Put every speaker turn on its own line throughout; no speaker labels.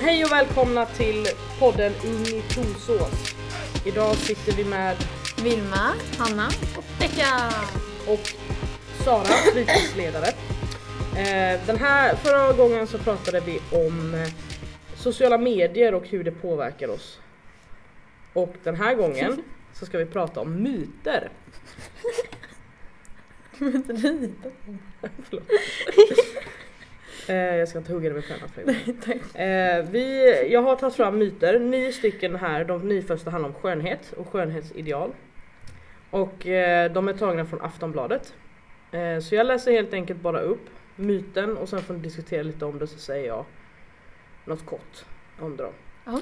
Hej och välkomna till podden In i Trosås. Idag sitter vi med
Vilma, Hanna och Becka.
och Sara, fritidsledare. Eh, Den här förra gången så pratade vi om eh, sociala medier och hur det påverkar oss. Och den här gången så ska vi prata om myter. Förlåt. Eh, Jag ska inte hugga dig med pennan fler gånger. Eh, vi, jag har tagit fram myter, nio stycken här. De nio första handlar om skönhet och skönhetsideal. Och eh, de är tagna från Aftonbladet. Eh, så jag läser helt enkelt bara upp myten och sen får ni diskutera lite om det så säger jag något kort om dem.
Ja.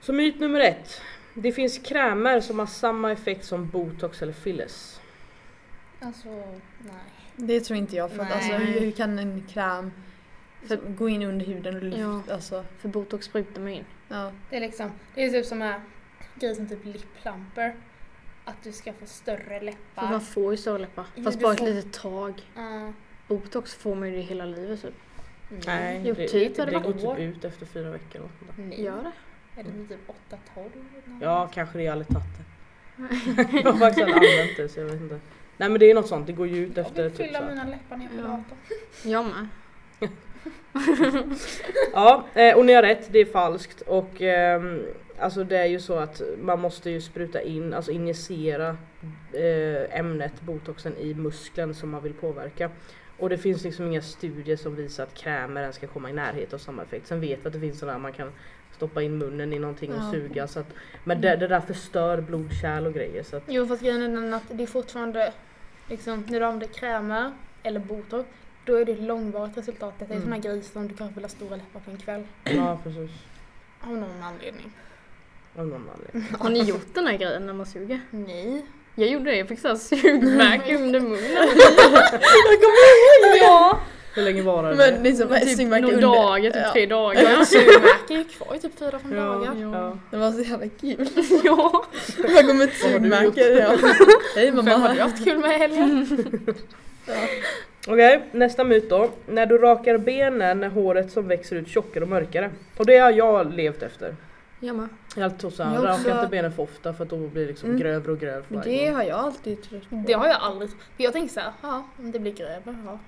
Så myt nummer ett. Det finns krämer som har samma effekt som botox eller fillers.
Alltså, nej.
Det tror inte jag. För att,
Nej.
alltså, hur hur kan en kräm för, gå in under huden och lyfta?
Ja.
Alltså,
För botox sprutar man in.
ja.
Det är liksom, det är typ som här grejer som typ lipplamper. Att du ska få större
För man
läppar. Ah,
får ju stora läppar.
Jo,
Fast
du
bara ett
får-
litet tag.
Ja.
Botox får man ju det hela livet typ.
Nej,
Jo,
det,
typ
det,
hade
det
varit
går typ
år.
ut efter fyra veckor. eller något sånt där.
nej.
Gör det?
Är det typ 8-12?
Ja, kanske det. Jag har aldrig tagit det. Jag har faktiskt aldrig använt det så jag vet inte. Nej men det är något sånt, det går ju ut
Jag
efter
vill
typ så
fylla
här.
mina läppar när jag
Ja.
fyller 18.
Jag med.
Ja, eh, och ni har rätt, det är falskt och ehm, alltså det är ju så att man måste ju spruta in, alltså injicera eh, ämnet botoxen i muskeln som man vill påverka. Och det finns liksom inga studier som visar att krämer ens ska komma i närheten av samma effekt. Sen vet vi att det finns sådana här man kan stoppa in munnen i någonting och
Ja.
suga så att, men det, det där förstör blodkärl och grejer så att
Jo fast grejen är den att det är fortfarande, liksom, när du använder krämer eller botox, då är det ett långvarigt resultat. Det är
Mm.
såna här grejer som du kanske vill ha stora läppar på en kväll.
ja precis.
Av någon anledning.
Av någon anledning.
Har ni gjort den här grejen när man suger?
Nej.
Jag gjorde det, jag fick såhär sugmärke under munnen.
Ja!
Hur länge varar det?
Men liksom,
typ
sugmärke
någon
under.
dag, typ
ja.
tre dagar.
Jag sugmärker ju kvar i typ fyra fem
Ja,
dagar.
ja.
Det var så jävla kul.
ja.
Man går med ett
Vad har du
sugmärke. Ja. Hej mamma.
Vem har du haft kul med i helgen?
Okej, nästa myt då. När du rakar benen är håret som växer ut tjockare och mörkare. Och det har jag levt efter.
Jag med.
Jag har alltid trott såhär,
Jag
raka
också.
inte benen för ofta för att då blir det liksom
Mm.
grövre och grövre
Men
varje
det
gång.
har jag alltid trott på.
Det har jag aldrig För jag tänker såhär, ja om det blir grövre, ja.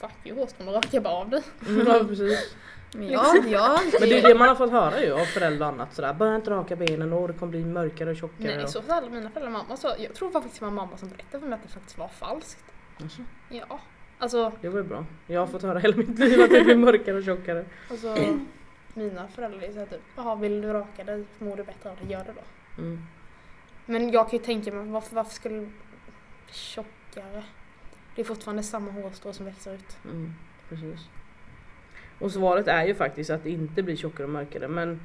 Fuck you hårstrån, då rakar jag bara av det.
Mm, ja, precis.
Men jag, jag,
Men det är det man har fått höra ju av föräldrar och annat sådär. Börja inte raka benen, och det kommer bli mörkare och tjockare.
Nej,
och...
så sa alla mina föräldrar och mamma. Så jag tror faktiskt det var mamma som berättade för mig att det faktiskt var falskt.
Alltså,
Ja. Alltså,
det var ju bra. Jag har fått höra hela mitt liv att det blir mörkare och tjockare.
Alltså, mina föräldrar säger typ, jaha vill du raka dig mår du bättre av det, gör det då.
Mm.
Men jag kan ju tänka mig, varför, varför skulle du bli tjockare? Det är fortfarande samma hårstrå som växer ut.
Mm, precis. Och svaret är ju faktiskt att det inte blir tjockare och mörkare men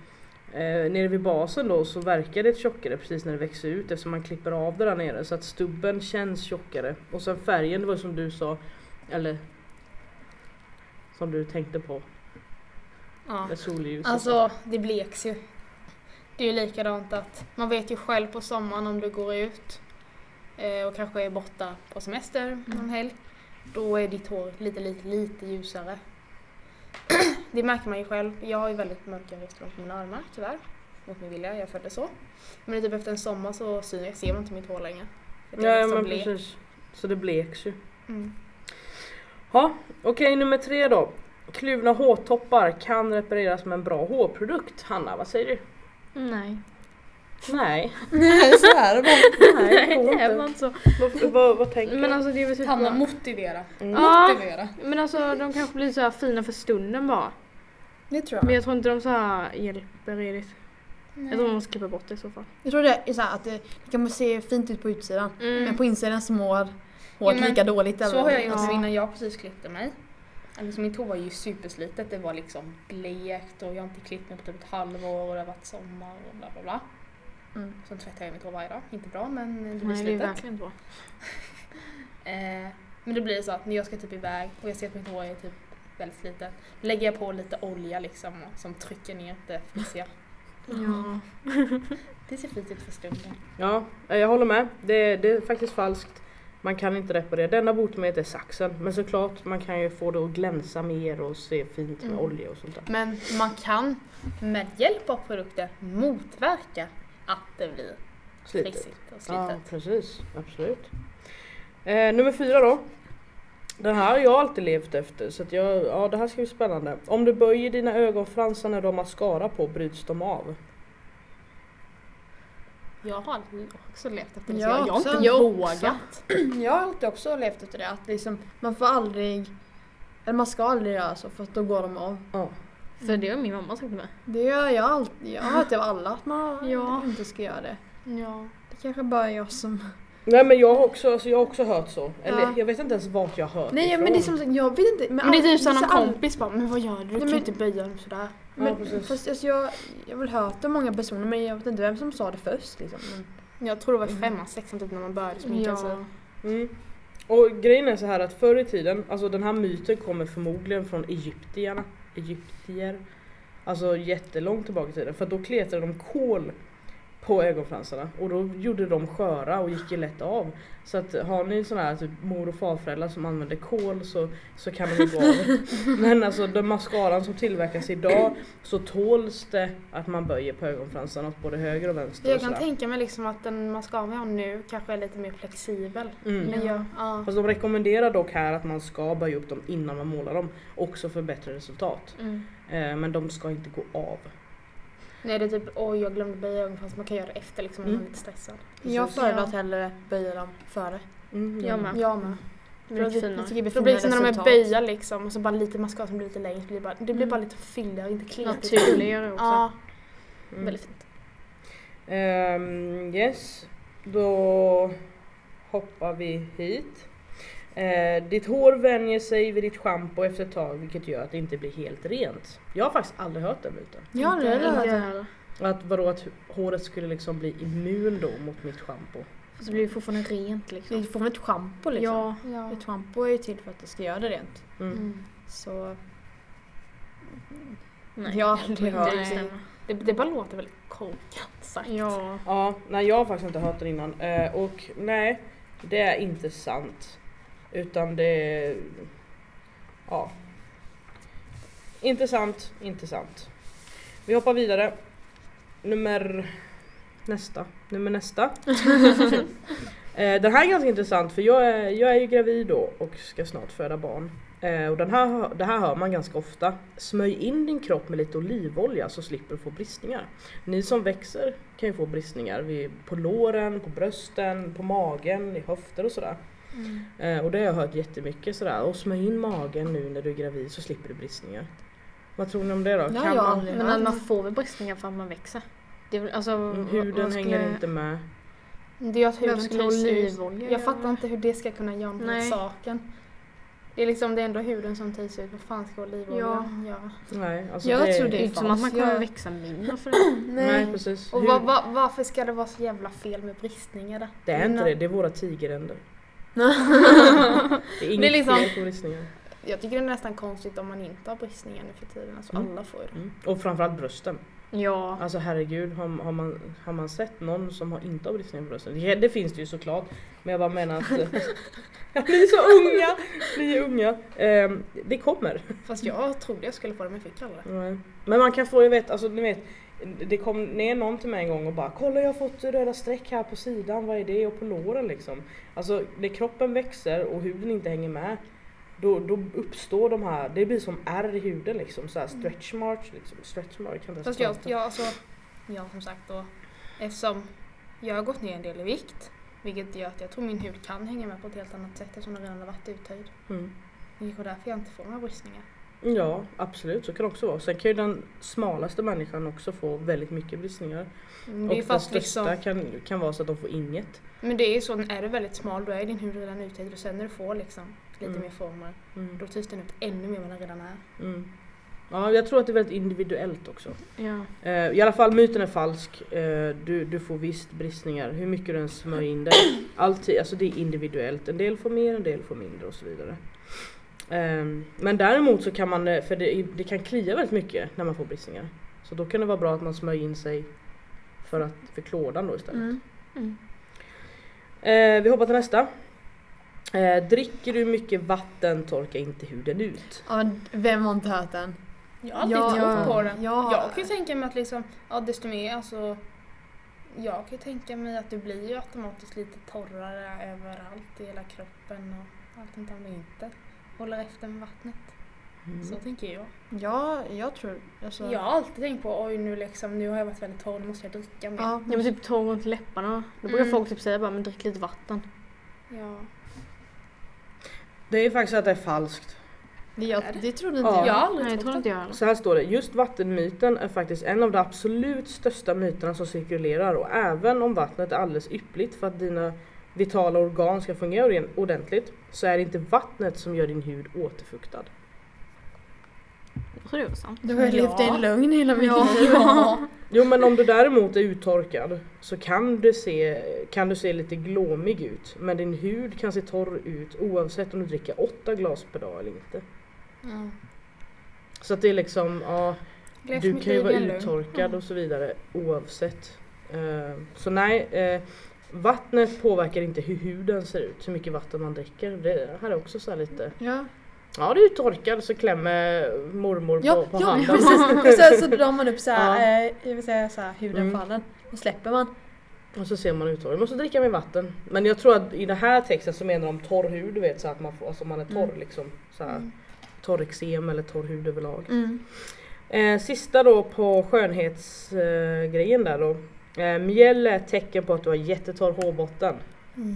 eh, nere vid basen då så verkar det tjockare precis när det växer ut eftersom man klipper av det där nere så att stubben känns tjockare. Och sen färgen, det var som du sa, eller som du tänkte på,
Ja.
med solljus. och
Alltså, det bleks ju. Det är ju likadant att man vet ju själv på sommaren om du går ut eh, och kanske är borta på semester någon helg. Då är ditt hår lite, lite, lite ljusare. Det märker man ju själv. Jag har ju väldigt mörka hårstrån på mina armar tyvärr. Mot min vilja, jag föddes så. Men typ efter en sommar så syns jag, ser man inte mitt hår längre. För
sånt.
det är
Ja,
så
men
blekt.
precis. Så det bleks ju.
Mm.
Ja, okej nummer tre då. Kluvna hårtoppar kan repareras med en bra hårprodukt. Hanna, vad säger du?
Nej.
Nej.
Nej, så här bara.
Nej,
det
inte.
är man inte så.
Vad, vad, vad tänker
Men
du?
alltså det är väl typ
Hanna,
bara...
motivera.
Ja,
Motivera.
men alltså de kanske blir så här fina för stunden bara.
Det tror
Men jag tror inte de så här hjälper redigt. Jag tror man måste klippa bort det i så fall.
Jag tror det är så här att det, det kan se fint ut på utsidan. Men på insidan så mår håret
Ja, men
lika dåligt.
Så
eller- Alltså,
har jag gjort
Ja.
nu innan jag precis klippte mig. Alltså mitt hår var ju superslitet, det var liksom blekt och jag har inte klippt mig på typ ett halvår och det har varit sommar och bla bla bla.
Mm.
Sen tvättar jag mitt hår varje dag, inte bra men det blir
Nej det är
slitet.
verkligen bra.
Eh, men det blir så att när jag ska typ iväg och jag ser att mitt hår är typ väldigt slitet, lägger jag på lite olja liksom och- som trycker ner det frisiga.
Ja.
Det ser fint ut för stunden.
eh, Ja, jag håller med. Det, det är faktiskt falskt. Man kan inte reparera. Det enda botemedlet är saxen. Men såklart man kan ju få det att glänsa mer och se fint med
Mm.
olja och sånt där.
Men man kan med hjälp av produkter motverka att det blir
Slitet.
trixigt och
Ja
slitet.
precis, absolut. Eh, nummer fyra då. Den här har jag alltid levt efter så att jag, ja det här ska bli spännande. Om du böjer dina ögonfransar när du har mascara på bryts de av.
Jag har också levt efter det,
Jag
så jag, jag har
också.
inte
Jag
vågat.
Jag har alltid också levt efter det. Att liksom, man får aldrig... Eller man ska aldrig göra så för att då går de av.
Ja.
För det har min mamma sagt till mig.
Det gör jag alltid. Jag har hört det av alla att man
Ja.
inte ska göra det.
Ja.
Det kanske bara är jag som...
Nej men jag har också, alltså, jag har också hört så. Eller
Ja.
jag vet inte ens vart jag har hört
Nej men det är som sagt, jag vet inte.
Men det är
all-
typ som någon
så all-
kompis bara, men vad gör du? Du
Nej,
kan ju
men-
inte böja dem sådär.
Ja,
Men,
precis.
fast alltså, jag, jag har väl hört det av många personer men jag vet inte vem som sa det först. Liksom. Men,
Jag tror det var i femman, sexan typ när man började sminka
Ja.
sig.
Mm. Och grejen är så här att förr i tiden, alltså den här myten kommer förmodligen från egyptierna. Egyptier. Alltså jättelångt tillbaka i tiden. För då kletade de kol på ögonfransarna och då gjorde de sköra och gick ju lätt av. Så att har ni sådana här typ mor och farföräldrar som använder kol så, så kan de ju gå av. Men alltså den mascaran som tillverkas idag så tåls det att man böjer på ögonfransarna åt både höger och vänster.
Jag
och
kan
sådär.
tänka mig liksom att den mascara vi har nu kanske är lite mer flexibel.
Mm.
Men jag, ja.
Fast de rekommenderar dock här att man ska böja upp dem innan man målar dem, också för bättre resultat.
Mm.
Eh, Men de ska inte gå av.
Nej det är typ oj jag glömde böja ögonen fast man kan göra det efter liksom om man
Mm.
är lite stressad.
jag
Precis.
föredrar att hellre böja dem före.
Mm,
Jag med.
Jag med.
Det blir lite
Jag
finare.
tycker det
Då blir det
finare
som när de är
resultat.
böja liksom och så bara lite mascara som blir lite längre. Så blir det, bara, det blir
Mm.
bara lite fylligare, inte kletigt.
Naturligare också.
Ja,
Mm.
väldigt fint.
Ehm, yes, då hoppar vi hit. Eh, ditt hår vänjer sig vid ditt schampo efter ett tag vilket gör att det inte blir helt rent. Jag har faktiskt aldrig hört den myten.
Ja, det
Inte-
är
inte
det.
heller.
Att vadå att håret skulle liksom bli immun då mot mitt schampo.
Och så blir det fortfarande rent
Det
liksom.
Mm.
får väl ett schampo liksom.
Ja.
Ja.
Ett schampo är ju till för att det ska göra det rent.
Mm.
Mm.
Så
Nej.
jag har aldrig
Det
hört
Nej.
det.
stämmer.
Det, det bara låter väldigt korkat sagt.
Ja.
Ja, nej jag har faktiskt inte hört den innan. Eh, och nej, det är inte sant. Utan det är... Ja. Inte sant, inte sant. Vi hoppar vidare. Nummer... Nästa. Nummer nästa. eh, den här är ganska intressant för jag är, jag är ju gravid då och ska snart föda barn. Eh, och den här, det här hör man ganska ofta. Smörj in din kropp med lite olivolja så slipper du få bristningar. Ni som växer kan ju få bristningar vid, på låren, på brösten, på magen, i höfter och sådär.
Mm.
Eh, och det har jag hört jättemycket sådär. Och smörj in magen nu när du är gravid så slipper du bristningar. Vad tror ni om det då?
Det har
Kan
jag
man,
aldrig
Men
hört.
att man får väl bristningar för att man växer? Det är väl, alltså,
Mm,
vad-
huden
vad skulle-
hänger inte med.
Det gör att
Vem
huden
skulle
trivs ut.
olivolja
Jag fattar inte hur det ska kunna göra något åt
Nej.
saken. Det är liksom det är ändå huden som trivs ut. Vad fan ska olivoljan göra?
Nej, alltså
Jag
det,
tror
är-
Det är
det
ju inte som att man
Jag-
kommer växa mindre för det.
Nej, precis.
Och
Hud-
va, va, varför ska det vara så jävla fel med bristningar där?
Det är inte
Mina-
det, det är våra tigeränder. det är inget
Det är liksom-
fel på bristningar.
Jag tycker det är nästan konstigt om man inte har bristningar nu för tiden. Alltså
Mm.
alla får ju det.
Mm. Och framförallt brösten.
Ja.
Alltså herregud, har, har, man, har man sett någon som har inte har bristningar på brösten? Ja, det finns det ju såklart. Men jag bara menar att... ni är så unga! Ni är unga. Ehm, det kommer.
Fast jag trodde jag skulle få det men jag fick aldrig.
Nej. Men man kan få, jag vet, alltså ni vet. Det kom ner någon till mig en gång och bara kolla jag har fått röda streck här på sidan, vad är det? Och på låren liksom. Alltså när kroppen växer och huden inte hänger med då, då uppstår de här, det blir som ärr i huden liksom, så här stretch marks liksom. Stretch mark, kan inte ens
Fast jag,
prata.
jag alltså, jag som sagt då, eftersom jag har gått ner en del i vikt, vilket gör att jag tror min hud kan hänga med på ett helt annat sätt eftersom den redan har varit uttöjd.
Mm.
Det är kanske därför jag inte får några bristningar.
Ja, absolut så kan det också vara. Sen kan ju den smalaste människan också få väldigt mycket bristningar.
Mm,
Och
Det är
den
fast
största
liksom,
kan, kan vara så att de får inget.
men det är ju så, är du väldigt smal då är din hud redan uttöjd och sen när du får liksom lite
Mm.
mer former,
Mm.
då töjs den ut ännu mer än vad den redan är.
Mm. Ja, jag tror att det är väldigt individuellt också.
ja.
Eh, I alla fall, myten är falsk. Eh, du, du får visst bristningar, hur mycket du än smörjer in dig. Alltid, alltså det är individuellt. En del får mer, en del får mindre och så vidare. Ehm, men däremot så kan man, eh, för det, det kan klia väldigt mycket när man får bristningar. Så då kan det vara bra att man smörjer in sig för, att, för klådan då istället.
Mm.
Eh, vi hoppar till nästa. Eh, dricker du mycket vatten torkar inte huden ut.
Ja, men vem har inte hört den?
Jag har aldrig
Ja,
trott på den.
ja.
Jag kan ju tänka mig att liksom, ja desto mer alltså. Jag kan ju tänka mig att det blir ju automatiskt lite torrare överallt i hela kroppen och allt sånt där om det inte håller efter med vattnet.
Mm.
Så tänker jag.
Ja, jag tror... Alltså,
Jag har alltid tänkt på oj nu liksom, nu har jag varit väldigt torr, nu måste jag dricka mer.
ja,
Ja men typ torr runt läpparna. Då brukar
Mm.
folk typ säga bara men drick lite vatten.
Ja.
Det är faktiskt att det är falskt.
det, jag, det trodde inte
Ja.
Jag
jag.
har aldrig
Nej det
trott
tror
det.
inte jag heller.
Så här står det, just vattenmyten är faktiskt en av de absolut största myterna som cirkulerar och även om vattnet är alldeles yppligt för att dina vitala organ ska fungera orden- ordentligt så är det inte vattnet som gör din hud återfuktad.
Jag tror det var sant. Mm.
Du har ju levt i en lögn hela mitt
Ja.
liv. Ja.
Jo men om du däremot är uttorkad så kan du, se, kan du se lite glåmig ut men din hud kan se torr ut oavsett om du dricker åtta glas per dag eller inte.
Mm.
Så att det är liksom, ja
Gläs
du
mitt
kan ju
liv
vara
i en Mm. lögn.
uttorkad och så vidare oavsett. Eh, Så nej, eh, vattnet påverkar inte hur huden ser ut, hur mycket vatten man dricker. Det här är också så här lite,
Ja,
ja du är uttorkad så klämmer mormor
ja,
på, på
ja
handen.
precis. Och sen så drar man upp såhär, eh, jag vill säga såhär, huden
Mm.
på handen. Och släpper man.
Och så ser man uttorkad, man måste dricka mer vatten. Men jag tror att i den här texten så menar de torr hud, du vet så att man får, alltså man är torr
Mm.
liksom. Så här, Torr eksem eller torr hud överlag.
Mm.
Eh, sista då på skönhetsgrejen eh, grejen där då. Eh, mjäll är ett tecken på att du har jättetorr hårbotten.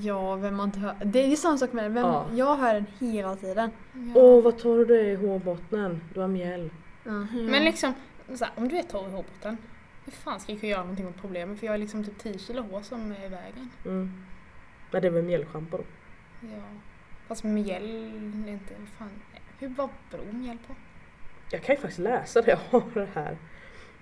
Ja, vem har inte hört... Det är ju samma sak med den. Vem,
Ja.
Jag hör den hela tiden.
Ja.
Åh vad torr du är i hårbottnen, du har mjäll.
Mm.
Men liksom, så här, om du är torr i hårbotten, hur fan ska jag kunna göra någonting åt problemet? För jag har liksom typ 10 kilo hår som är i vägen.
Mm. Men det är väl mjällschampo då?
Ja. Fast mjäll är inte, vad fan, hur, vad beror mjäll på?
Jag kan ju faktiskt läsa det jag har det här.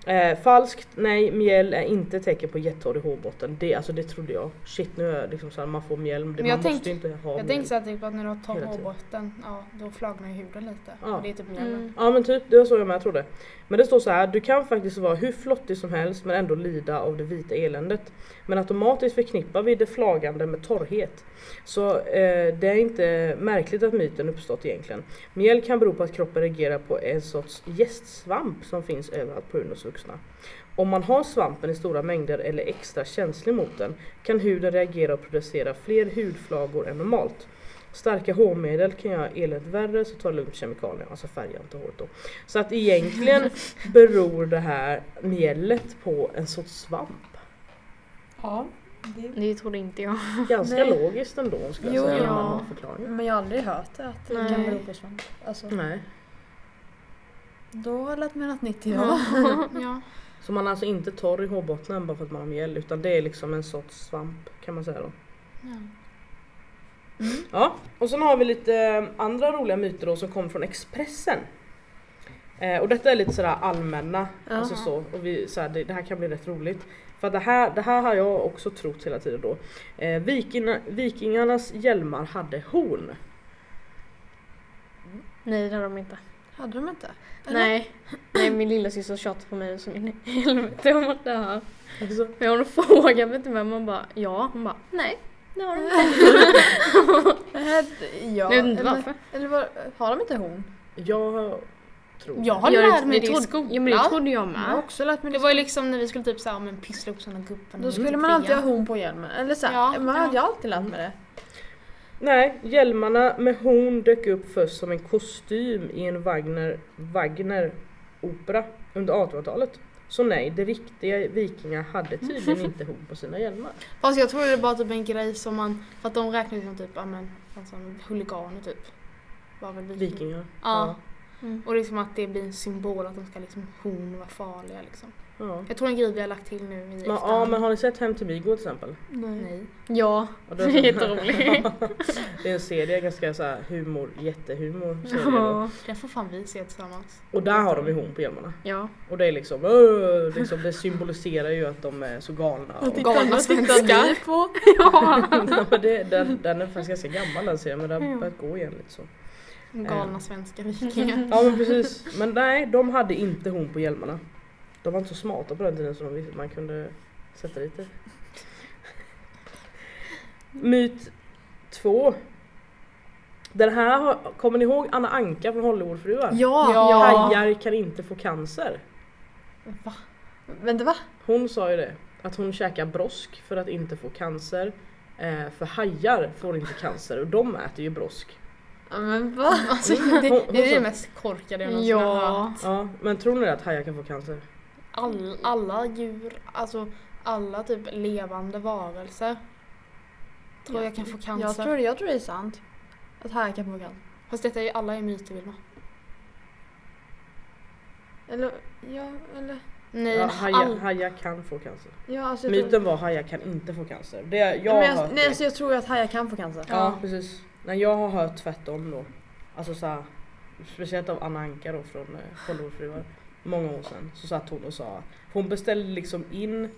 Eh, falskt, nej mjäll är inte ett tecken på jättetorr i hårbotten. Det, alltså, det trodde jag. Shit nu är jag liksom såhär, man får mjäll, men det-
Men
man
jag
måste
tänkte-
ju inte ha
Jag
mjäll.
tänker såhär typ att när du har torr
Hela tiden.
hårbotten, ja då flagnar ju huden lite.
Ja.
Och det är typ mjällen.
Mm.
Ja men typ, det var så jag med trodde. Men det står så här, du kan faktiskt vara hur flottig som helst men ändå lida av det vita eländet. Men automatiskt förknippar vi det flagande med torrhet. Så eh, det är inte märkligt att myten uppstått egentligen. Mjäll kan bero på att kroppen reagerar på en sorts gästsvamp som finns överallt på huden hos vuxna. Om man har svampen i stora mängder eller är extra känslig mot den kan huden reagera och producera fler hudflagor än normalt. Starka hårmedel kan göra eländet värre så ta det lugnt med kemikalier, alltså färga inte håret då. Så att egentligen beror det här mjället på en sorts svamp.
Ja.
Det trodde inte jag.
Ganska
Nej.
logiskt ändå skulle jag
Jo,
säga om
ja.
man har förklaringen.
Men jag har aldrig hört det, att det
Nej.
kan bero på svamp. Alltså,
Mm.
Nej.
då har jag lärt mig något nytt
Mm.
idag.
Ja.
Så man är alltså inte torr i hårbottnen bara för att man har mjäll utan det är liksom en sorts svamp kan man säga då.
Ja.
Ja, och sen har vi lite eh, andra roliga myter då som kommer från Expressen. Eh, och detta är lite sådär allmänna, alltså så, och vi, såhär, det, det här kan bli rätt roligt. För att det här, det här har jag också trott hela tiden då. Eh, vikingarna, vikingarnas hjälmar hade horn.
Nej det har de inte.
Hade de inte? Eller?
Nej. Nej min lillasyster tjatade på mig som in i helvete om att det här.
Alltså,
Men hon frågade mig inte men man bara ja. Hon bara nej. Det har de inte.
Nej, ja.
jag vet inte
eller-
varför.
Eller var, har de inte horn?
jag tror...
Jag har
Jag
lärt mig
det
det i
trodde-
skolan.
Ja men det trodde jag med.
Jag har också lärt mig
Det
det.
var ju liksom när vi skulle typ såhär, men pyssla upp såna gubben.
Då skulle man alltid ha horn på hjälmen. Eller så här,
Ja,
man hade
ja.
jag alltid lärt mig det.
Nej, hjälmarna med horn dök upp först som en kostym i en Wagner, Wagner opera under 1800-talet. Så nej, de riktiga vikingar hade tydligen inte horn på sina hjälmar.
Fast jag tror det var typ en grej som man, för att de räknades som typ, ja men, alltså, huliganer typ. Var väl viking.
Vikingar.
Ja.
Mm.
Och liksom att det blir en symbol att de ska liksom, hon vara farliga liksom.
Ja.
Jag tror en grej vi har lagt till nu i
Men, ja men har ni sett Hem till Vigo till exempel?
Nej.
Ja.
Ja,
Det är jätteroligt.
det är en serie, ganska så här humor, jättehumor. serie då.
Ja.
Den får fan vi se tillsammans.
Och där har de ju horn på hjälmarna.
ja.
Och det är liksom, öh, liksom, det symboliserar ju att de är så galna. Och,
Galna svenskar.
på.
Ja, men det, den, den är faktiskt ganska gammal den serien men den har börjat gå igen liksom. lite så.
Galna svenska vikingar.
Ja men precis. Men nej, de hade inte horn på hjälmarna. De var inte så smarta på den tiden så de visste, man kunde sätta dit det. Myt 2. Den här, har- kommer ni ihåg Anna Anka från Hollywoodfruar?
Ja!
Ja.
Hajar kan inte få cancer.
Va? Vänta va?
Hon sa ju det, att hon käkar brosk för att inte få cancer. Eh, för hajar får inte cancer och de äter ju brosk.
Ja, Men va?
Alltså,
Hon-
det,
hon
det är
sa-
det mest korkade jag någonsin har hört.
Ja.
Ja, men tror ni att hajar kan få cancer?
All, alla djur, alltså alla typ levande varelser tror jag kan få cancer.
Jag tror, jag tror det är sant. Att här kan få cancer.
Fast detta är ju alla är myter Vilma.
Eller, ja, eller,
Nej,
Ja, hajar,
all,
hajar kan få cancer.
ja alltså jag tror...
Myten var hajar kan inte få cancer. Det, jag
Jag
har
men jag,
hört
nej,
det.
alltså jag tror att hajar kan få cancer.
Ja precis. Nej, jag har hört tvärtom då. Alltså såhär, speciellt av Anna Anka då från eh, Hollywoodfruar. Många år sedan så satt hon och sa, hon beställde liksom in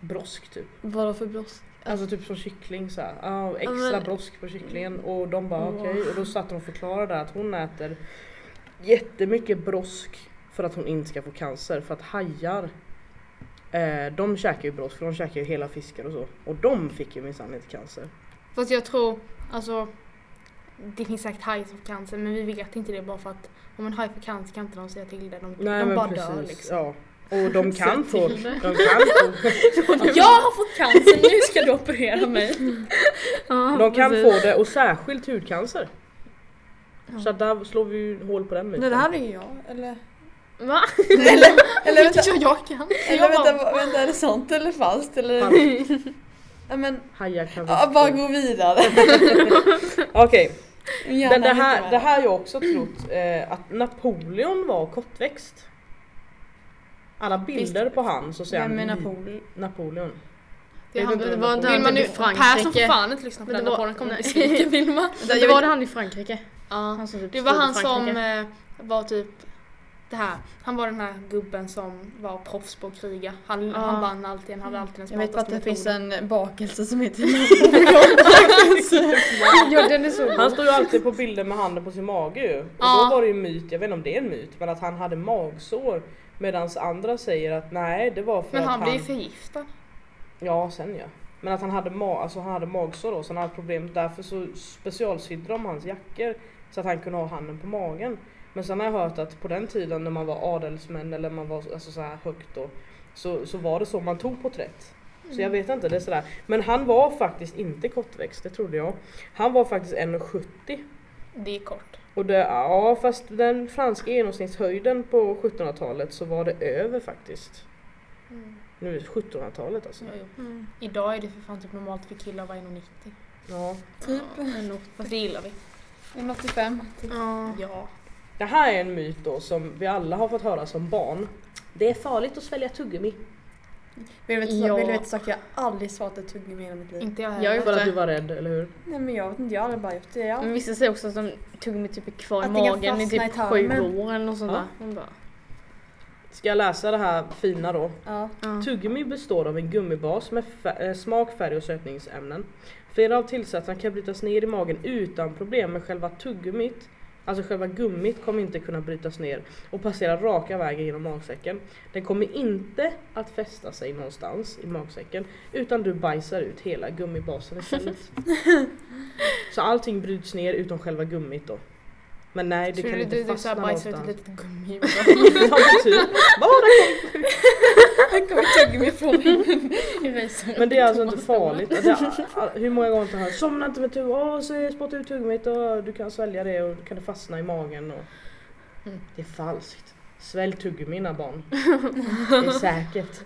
brosk typ.
Vadå för brosk?
Alltså typ som kyckling så här. Ja, och
Ja,
extra
men-
brosk på kycklingen och de bara
Wow.
okej och då satt de och förklarade där att hon äter jättemycket brosk för att hon inte ska få cancer för att hajar eh, de käkar ju brosk för de käkar ju hela fiskar och så och de fick ju minsann inte cancer.
Fast jag tror, alltså det finns säkert hajar som får cancer men vi vet inte det bara för att om en haj får cancer kan inte de säga till det. De,
Nej
de
men
bara
precis.
dör liksom.
Ja. Och de kan få, de kan få,
Jag har fått cancer, nu ska du operera mig.
Ja,
de kan
precis.
få det och särskilt hudcancer. Så att där slår vi ju hål på den myten.
Nej det här är ju jag, eller?
Va?
Eller, eller
Eller
vänta,
jag, jag kan.
eller
jag bara-
vänta, va- vänta, är det sant eller falskt? Eller?
Falskt.
Ja men,
Hajar kan
ja, bara gå vidare.
Okej,
Min hjärna
Men det
vill inte
här,
vara
det här har jag också trott, eh, att Napoleon var kortväxt. Alla bilder på han så ser han
Vem är
li-
Napole-
Napoleon.
Det,
Jag
han,
vet inte vem
det var
Napoleon
där
Vill man
typ
nu,
i Frankrike.
Persson får fan inte lyssna på
Men
den
det var-
rapporten, kommer bli
nej.
besviken Vilma.
Det, det var det han i Frankrike.
Ja.
som typ
Det var
stod i
han som
Frankrike.
eh, var typ det här. Han var den här gubben som var proffs på att kriga. Han,
Ja.
han vann alltid, han hade alltid den
Jag vet
smartaste
bara att det finns en bakelse som heter
eh,
Ja, den är så
Han
god.
står ju alltid på bilder med handen på sin mage ju. Och
Ja.
då var det ju en myt, jag vet inte om det är en myt, men att han hade magsår. Medan andra säger att nej det var för
Men
att
han blev ju förgiftad.
Ja sen ja. Men att han hade, ma- alltså, han hade magsår då så han hade problem. Därför så specialsydde de hans jackor så att han kunde ha handen på magen. Men sen har jag hört att på den tiden när man var adelsmän eller man var alltså, så här högt då så, så var det så man tog porträtt. Så
Mm.
jag vet inte, det är sådär. Men han var faktiskt inte kortväxt, det trodde jag. Han var faktiskt 1,70
Mm. Det är kort.
och det, ja fast den franska genomsnittshöjden på 1700-talet så var det över faktiskt.
Mm.
Nu är det 1700-talet alltså.
Jo, jo.
Mm.
Idag är det för fan typ normalt för killar att vara 1,90.
Ja.
Typ.
Mm.
Fast det gillar vi.
185.
Ja.
Ja.
Det här är en myt då som vi alla har fått höra som barn. Det är farligt att svälja tuggummi.
Vill du
Ja.
veta- vill du veta saker jag aldrig svalt ett tuggummi i hela mitt liv?
Inte jag
Jag
heller.
är
För
bara-
att du var rädd, eller hur?
Nej men jag vet inte, jag har aldrig bara gjort det. Jag
Men vissa säger också att de tuggummi typ är kvar i
Att det kan
magen i
fastna i
typ sju
tarmen.
år eller något sånt
Ja.
där. Man bara,
Ska jag läsa det här fina då?
Ja.
ja.
Tuggummi består av en gummibas med fä- eh, smak, färg och sötningsämnen. Flera av tillsatserna kan brytas ner i magen utan problem men själva tuggummit, alltså själva gummit kommer inte kunna brytas ner och passera raka vägen genom magsäcken. Den kommer inte att fästa sig någonstans i magsäcken utan du bajsar ut hela gummibasen istället. Så allting bryts ner utan själva gummit då. Men nej det
Tror
kan
du
inte
du, du så
fastna
här bajsar ut ett
någonstans.
litet gummi?
Ja, men typ.
Här kommer tuggummi från min
Men det är alltså inte farligt. Det är, hur många gånger inte har somna inte med tugg, åh så spotta ut tuggummit och du kan svälja det och kan det fastna i magen. Och...
Mm.
Det är falskt. Svälj tuggummina barn. Det är säkert.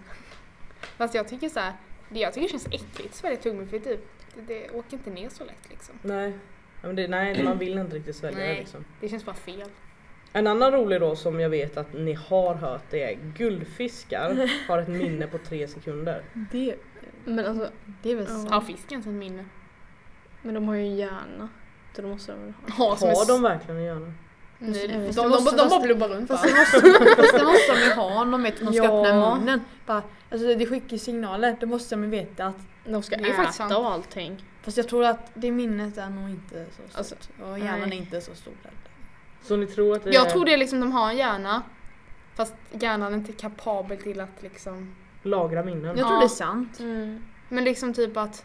Fast jag tycker så här, det jag tycker känns äckligt att svälja tuggummi för typ, det, det åker inte ner så lätt liksom.
Nej. Ja, Men det, nej, man vill inte riktigt svälja det
Nej.
liksom.
Det känns bara fel.
En annan rolig då som jag vet att ni har hört det är guldfiskar har ett minne på tre sekunder.
Det,
Men alltså,
det är väl
Ja.
sant?
Har fisken sin minne?
men de har ju en hjärna. Så då måste de väl ha.
Ha, som
Har
är
de verkligen en hjärna?
Nej,
Jag
de,
vet.
de,
Det måste-
de, de bara
fast-
blubbar runt
Fast
bara.
det måste, fast det måste de ju ha om de vet att de ska
Ja.
öppna munnen. Bara, alltså det skickar ju signaler, då måste de ju veta att...
De ska
Det är ju faktiskt sant.
äta och allting.
Fast jag tror att det minnet är nog inte så stort.
Alltså,
och hjärnan
nej.
är inte så stor där.
Så ni tror att det
Jag
är
tror det är liksom de har en hjärna, fast hjärnan är inte kapabel till att liksom...
lagra minnen?
Jag tror
Ja.
det är sant.
Mm.
Men liksom typ att...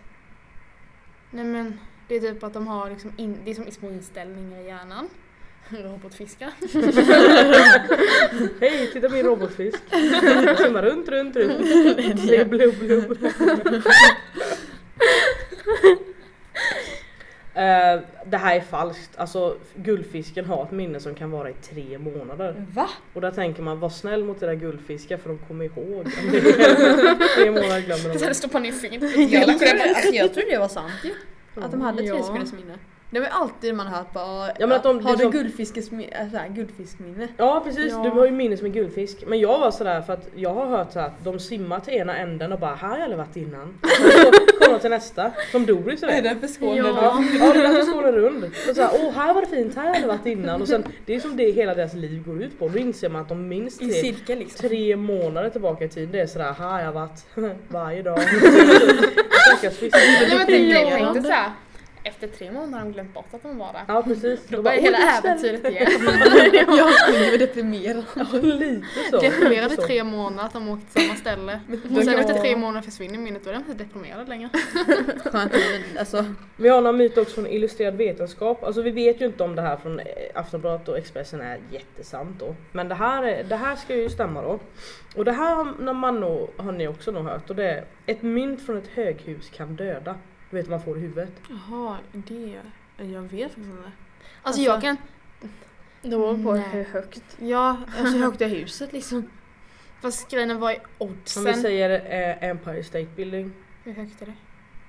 Nej men, Det är typ att de har liksom in, det är som små inställningar i hjärnan. Robotfiskar.
Hej, titta min robotfisk. Den simmar runt, runt, runt. Säger blubb, blubb. Eh, det här är falskt. Alltså guldfisken har ett minne som kan vara i tre månader.
Va?
Och där tänker man var snäll mot era guldfiskar för de kommer ihåg. om det är- tre månader glömmer de.
Sen stoppar ner fingret.
Jag trodde, alltså, jag trodde det var sant ju. Att de hade tre
Ja.
sekunders minne. Det var ju alltid man hört bara,
Ja, men att de
har du
liksom-
guldfiskesmi- äh, så här, guldfiskminne?
Ja precis,
Ja.
du har ju minne som en guldfisk. Men jag var sådär för att jag har hört så här att de simmar till ena änden och bara här har jag aldrig varit innan. Så Kommer de till nästa, som Doris är det.
den för skål?
Ja, ja det är därför skålen är rund. Och så här, Åh här var det fint, här har jag aldrig varit innan. Och sen, det är som det hela deras liv går ut på. Då inser man att de minns
I
till
cirkel liksom.
tre månader tillbaka i tiden. Det är sådär, här har jag varit varje dag. Stackars fisk.
Nej men tänk, jag
Irriterande.
tänkte såhär. Efter tre månader har de glömt bort att de var där.
Ja precis.
Då
De
börjar
"Åh,
hela
det är snällt."
äventyret igen.
Jag skulle bli deprimerad.
Ja, Lite så.
Deprimerade
Lite så.
tre månader att de åkte till samma ställe. Och sen efter tre månader försvinner minnet då är de inte deprimerade längre.
Skönt men alltså.
Vi har någon myt också från illustrerad vetenskap. Alltså vi vet ju inte om det här från eh, Aftonbladet och Expressen är jättesant då. Men det här, är, det här ska ju stämma då. Och det här har- när man nog, har ni också nog hört och det är ett mynt från ett höghus kan döda. Du vet man får i huvudet.
Jaha, det... Jag vet faktiskt inte.
Alltså jag kan...
Det beror på
Nej.
hur högt.
Ja, alltså hur högt är huset liksom?
Fast grejen var ju
Om vi
oddsen.
säger eh, Empire State Building,
Hur högt är det?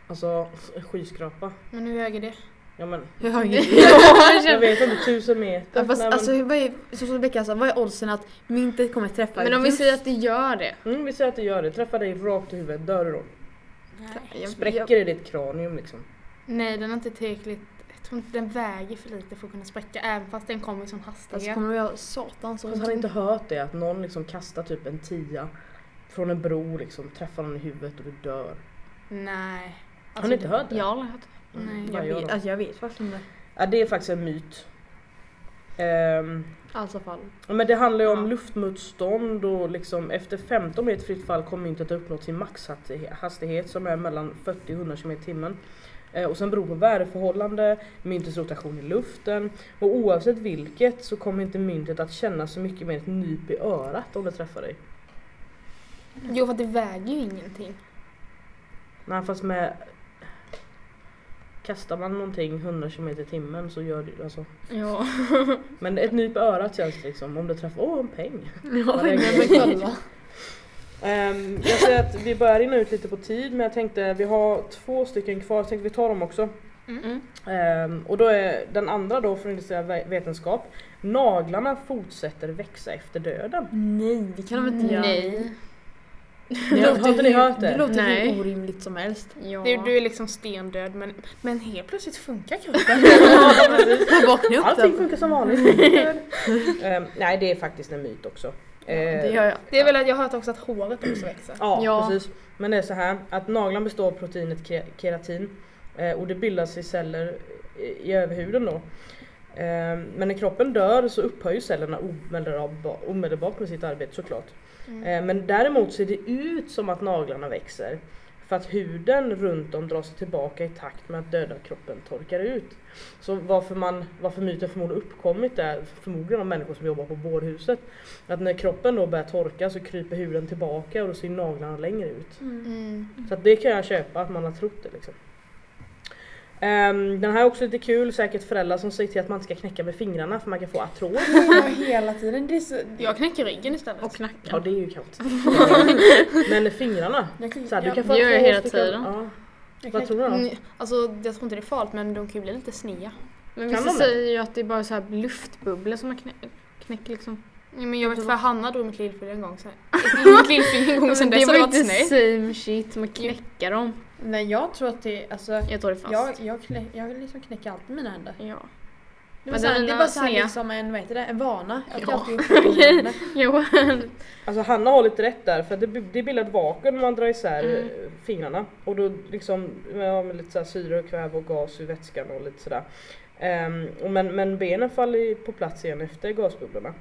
alltså skyskrapa.
Men hur hög är det?
Ja men
Hur högt är
jag vet inte, tusen meter.
Ja, fast,
Nej, men-
alltså, vad är, så som Becka sa, vad är oddsen att myntet kommer träffa
Men om vi säger att det gör det.
mm, vi säger att det gör det, träffar dig rakt i huvudet, dör du då?
Jag-
Spräcker
jag-
det ditt kranium liksom?
Nej den är inte tillräckligt... Jag tror inte den väger för lite för att kunna spräcka även fast den kommer i sån
Alltså
hastighet.
kommer vi ha satans
Fast
ont.
har ni inte hört det? Att någon liksom kastar typ en tia från en bro liksom, träffar någon i huvudet och du dör.
Nej. Alltså,
Har ni inte hört det?
Jag har aldrig hört det.
Mm,
Nej,
vad
Jag
gör
vet,
de?
alltså, jag vet faktiskt inte.
ja, det är faktiskt en myt. Ehm,
Alltså fall.
men det handlar ju om
Ja.
luftmotstånd och liksom efter 15 meter fritt fall kommer myntet att uppnå sin maxhastighet som är mellan 40 och 100 km i timmen. Eh, Och sen beror på väderförhållande, myntets rotation i luften och oavsett vilket så kommer inte myntet att känna så mycket mer ett nyp i örat om det träffar dig.
Jo för att det väger ju ingenting.
Nej fast med Kastar man någonting 100 km i timmen så gör det alltså.
Ja.
Men ett nyp i örat känns det liksom om det träffar, åh en peng.
Ja,
det är
men
grej.
kolla.
Ehm, jag ser att vi börjar rinna ut lite på tid men jag tänkte vi har två stycken kvar, jag tänkte vi tar dem också.
Mm.
Ehm, och då är den andra då från industriell ve- vetenskap. Naglarna fortsätter växa efter döden.
Nej, det kan de inte göra.
Nej.
Ni har- har inte ni hört
Det
det?
låter
Nej.
hur orimligt som helst.
Ja.
Du, du är liksom stendöd men, men helt plötsligt funkar kroppen.
Vakna upp
Allting
där.
funkar som vanligt. Ehm, nej det är faktiskt en myt också. Ehm,
Det gör jag.
Det är väl att jag har hört också att håret också växer.
Ja,
Ja.
precis. Men det är så här att naglarna består av proteinet ke- keratin eh, och det bildas i celler i- i överhuden då. Eh, Men när kroppen dör så upphör ju cellerna omedelba- omedelbart med sitt arbete såklart. Eh, Men däremot ser det ut som att naglarna växer för att huden runt om dras tillbaka i takt med att döda kroppen torkar ut. Så varför, man, varför myten förmodligen uppkommit är förmodligen av människor som jobbar på bårhuset. Att när kroppen då börjar torka så kryper huden tillbaka och då ser naglarna längre ut.
Mm.
Mm.
Mm.
Så att det kan jag köpa att man har trott det liksom. Ehm, den här är också lite kul, säkert föräldrar som säger till att man inte ska knäcka med fingrarna för man kan få artros.
Hela tiden. Det är så...
Jag knäcker ryggen istället.
Och knackar.
Ja det är ju kallt. Men fingrarna. Så här, du kan få
det gör jag
artros,
hela
du kan-
tiden.
Ja. Vad tror du då?
Mm, alltså jag tror inte det är farligt men de kan ju bli lite snea.
Men
Kan
vissa
de det?
säger ju att det är bara så här luftbubblor som man knä, knäcker liksom.
Nej, men jag vet för Hanna drog mitt lillfinger en gång sen. mitt lillfinger en gång sen dess har det
Mm. var
varit
inte
snö.
same shit, man knäcker dem.
Nej, jag tror att det alltså...
Jag tar det fast.
Jag, jag, knä, jag liksom knäcker alltid mina händer.
Ja.
Det,
Men
var så här,
dina
det är bara så här
snea.
liksom en, vad heter det, en vana. Att
Ja.
jag alltid knäcker mina händer.
Jo.
Alltså Hanna har lite rätt där för att det, bi- det bildar ett vakuum när man drar isär
Mm.
eh, fingrarna och då liksom ja, med lite så här syre och kväve och gas ur vätskan och lite sådär. Ehm, och men, men benen faller ju på plats igen efter gasbubblorna.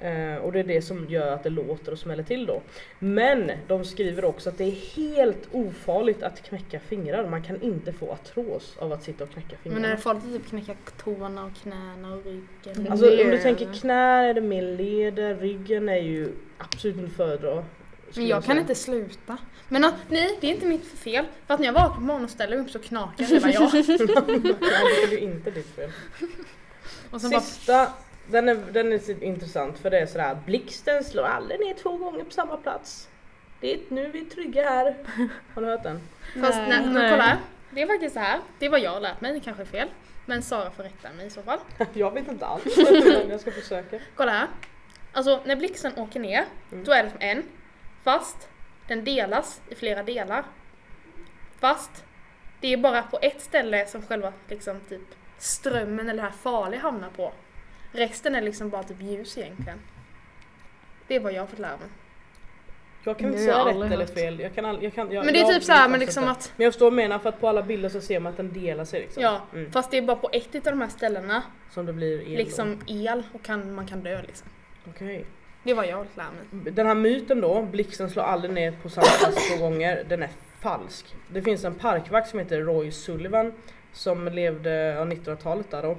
Eh, och det är det som gör att det låter och smäller till då. Men de skriver också att det är helt ofarligt att knäcka fingrar. Man kan inte få artros av att sitta och knäcka fingrar.
Men är det farligt att typ knäcka tårna och knäna och ryggen?
Alltså om du
Leder.
tänker knä är det mer leder, ryggen är ju absolut inte att föredra. skulle
Men jag kan
säga.
inte sluta. Men att, nej, det är inte mitt fel. För att när jag vaknar på morgonen och ställer mig upp så knakar hela jag.
det är ju inte ditt fel.
Och sen bara,
Sista, den är, den är så intressant för det är sådär blixten slår aldrig ner två gånger på samma plats. Det är nu vi är trygga här. Har ni hört den?
fast nej, men
Nej.
kolla här. Det är faktiskt så här. Det var jag lärt mig, det kanske är fel. Men Sara får rätta mig i så fall.
Jag vet inte alls men jag ska försöka.
Kolla här. Alltså när blixten åker ner,
Mm.
då är det som en. Fast den delas i flera delar. Fast det är bara på ett ställe som själva liksom typ strömmen eller det här farliga hamnar på. Resten är liksom bara typ ljus egentligen. Det är vad jag har fått lära mig.
Jag kan inte
Det har
säga
jag
rätt
aldrig
eller
hört.
fel. Jag kan all, jag kan, jag,
Men det är
jag
typ
vet
så här, men
alltså
liksom
inte.
att-
Men jag står och menar för att på alla bilder så ser man att den delar sig liksom.
Ja,
Mm.
fast det är bara på ett av de här ställena
Som det blir el. då.
liksom el och kan, man kan dö liksom.
Okej.
Det är vad jag har fått lära mig.
Den här myten då, blixten slår aldrig ner på samma plats två gånger, den är falsk. Det finns en parkvakt som heter Roy Sullivan som levde ja, 1900-talet där då.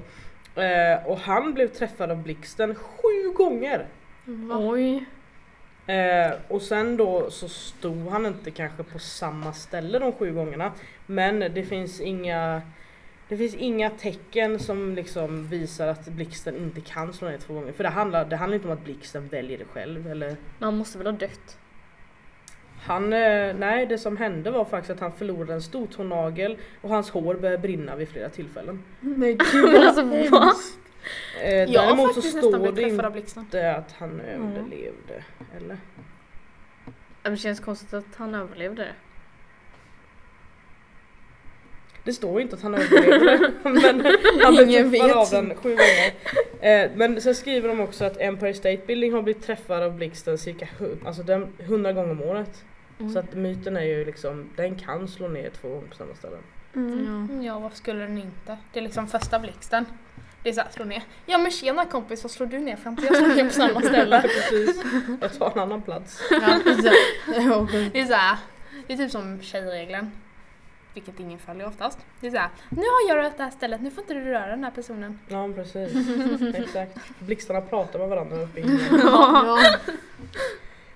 Eh, och han blev träffad av blixten sju gånger.
Oj.
Eh, och sen då så stod han inte kanske på samma ställe de sju gångerna. Men det finns inga det finns inga tecken som liksom visar att blixten inte kan slå ner två gånger. För det handlar, det handlar inte om att blixten väljer det själv eller
Men han måste väl ha dött?
Han, eh, nej det som hände var faktiskt att han förlorade en stor tånagel och hans hår började brinna vid flera tillfällen.
Nej gud alltså va?
Eh,
Jag har
däremot så
faktiskt nästan
står
blivit
det
träffad av Mm. blixten.
inte att han överlevde. Eller?
Det känns konstigt att han överlevde det.
Det står inte att han överlevde men han blev
Ingen
träffad
vet.
av den sju gånger. Eh, men sen skriver de också att Empire State Building har blivit träffad av blixten cirka hu- alltså den, 100 gånger om året.
Mm.
Så att myten är ju liksom, den kan slå ner två gånger på samma ställe.
Mm.
Ja.
Mm, Ja, varför skulle den inte? Det är liksom första blixten. Det är såhär, slå ner. Ja men tjena kompis, vad slår du ner fram till jag slår ner på samma ställe?
Precis, jag tar en annan plats.
Ja.
Ja, sjukt.
Det är såhär, det är typ som tjejregeln. Vilket ingen följer oftast. Det är såhär, nu har jag rört det här stället, nu får inte du röra den här personen.
Ja precis, exakt. Blixtarna pratar med varandra uppe i himlen.
Ja.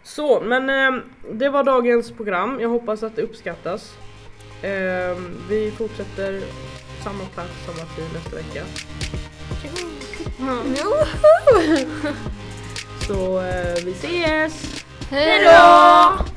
Så men eh, det var dagens program, jag hoppas att det uppskattas. Eh, vi fortsätter samma plats, samma tid nästa vecka. Så eh, vi ses!
Hejdå!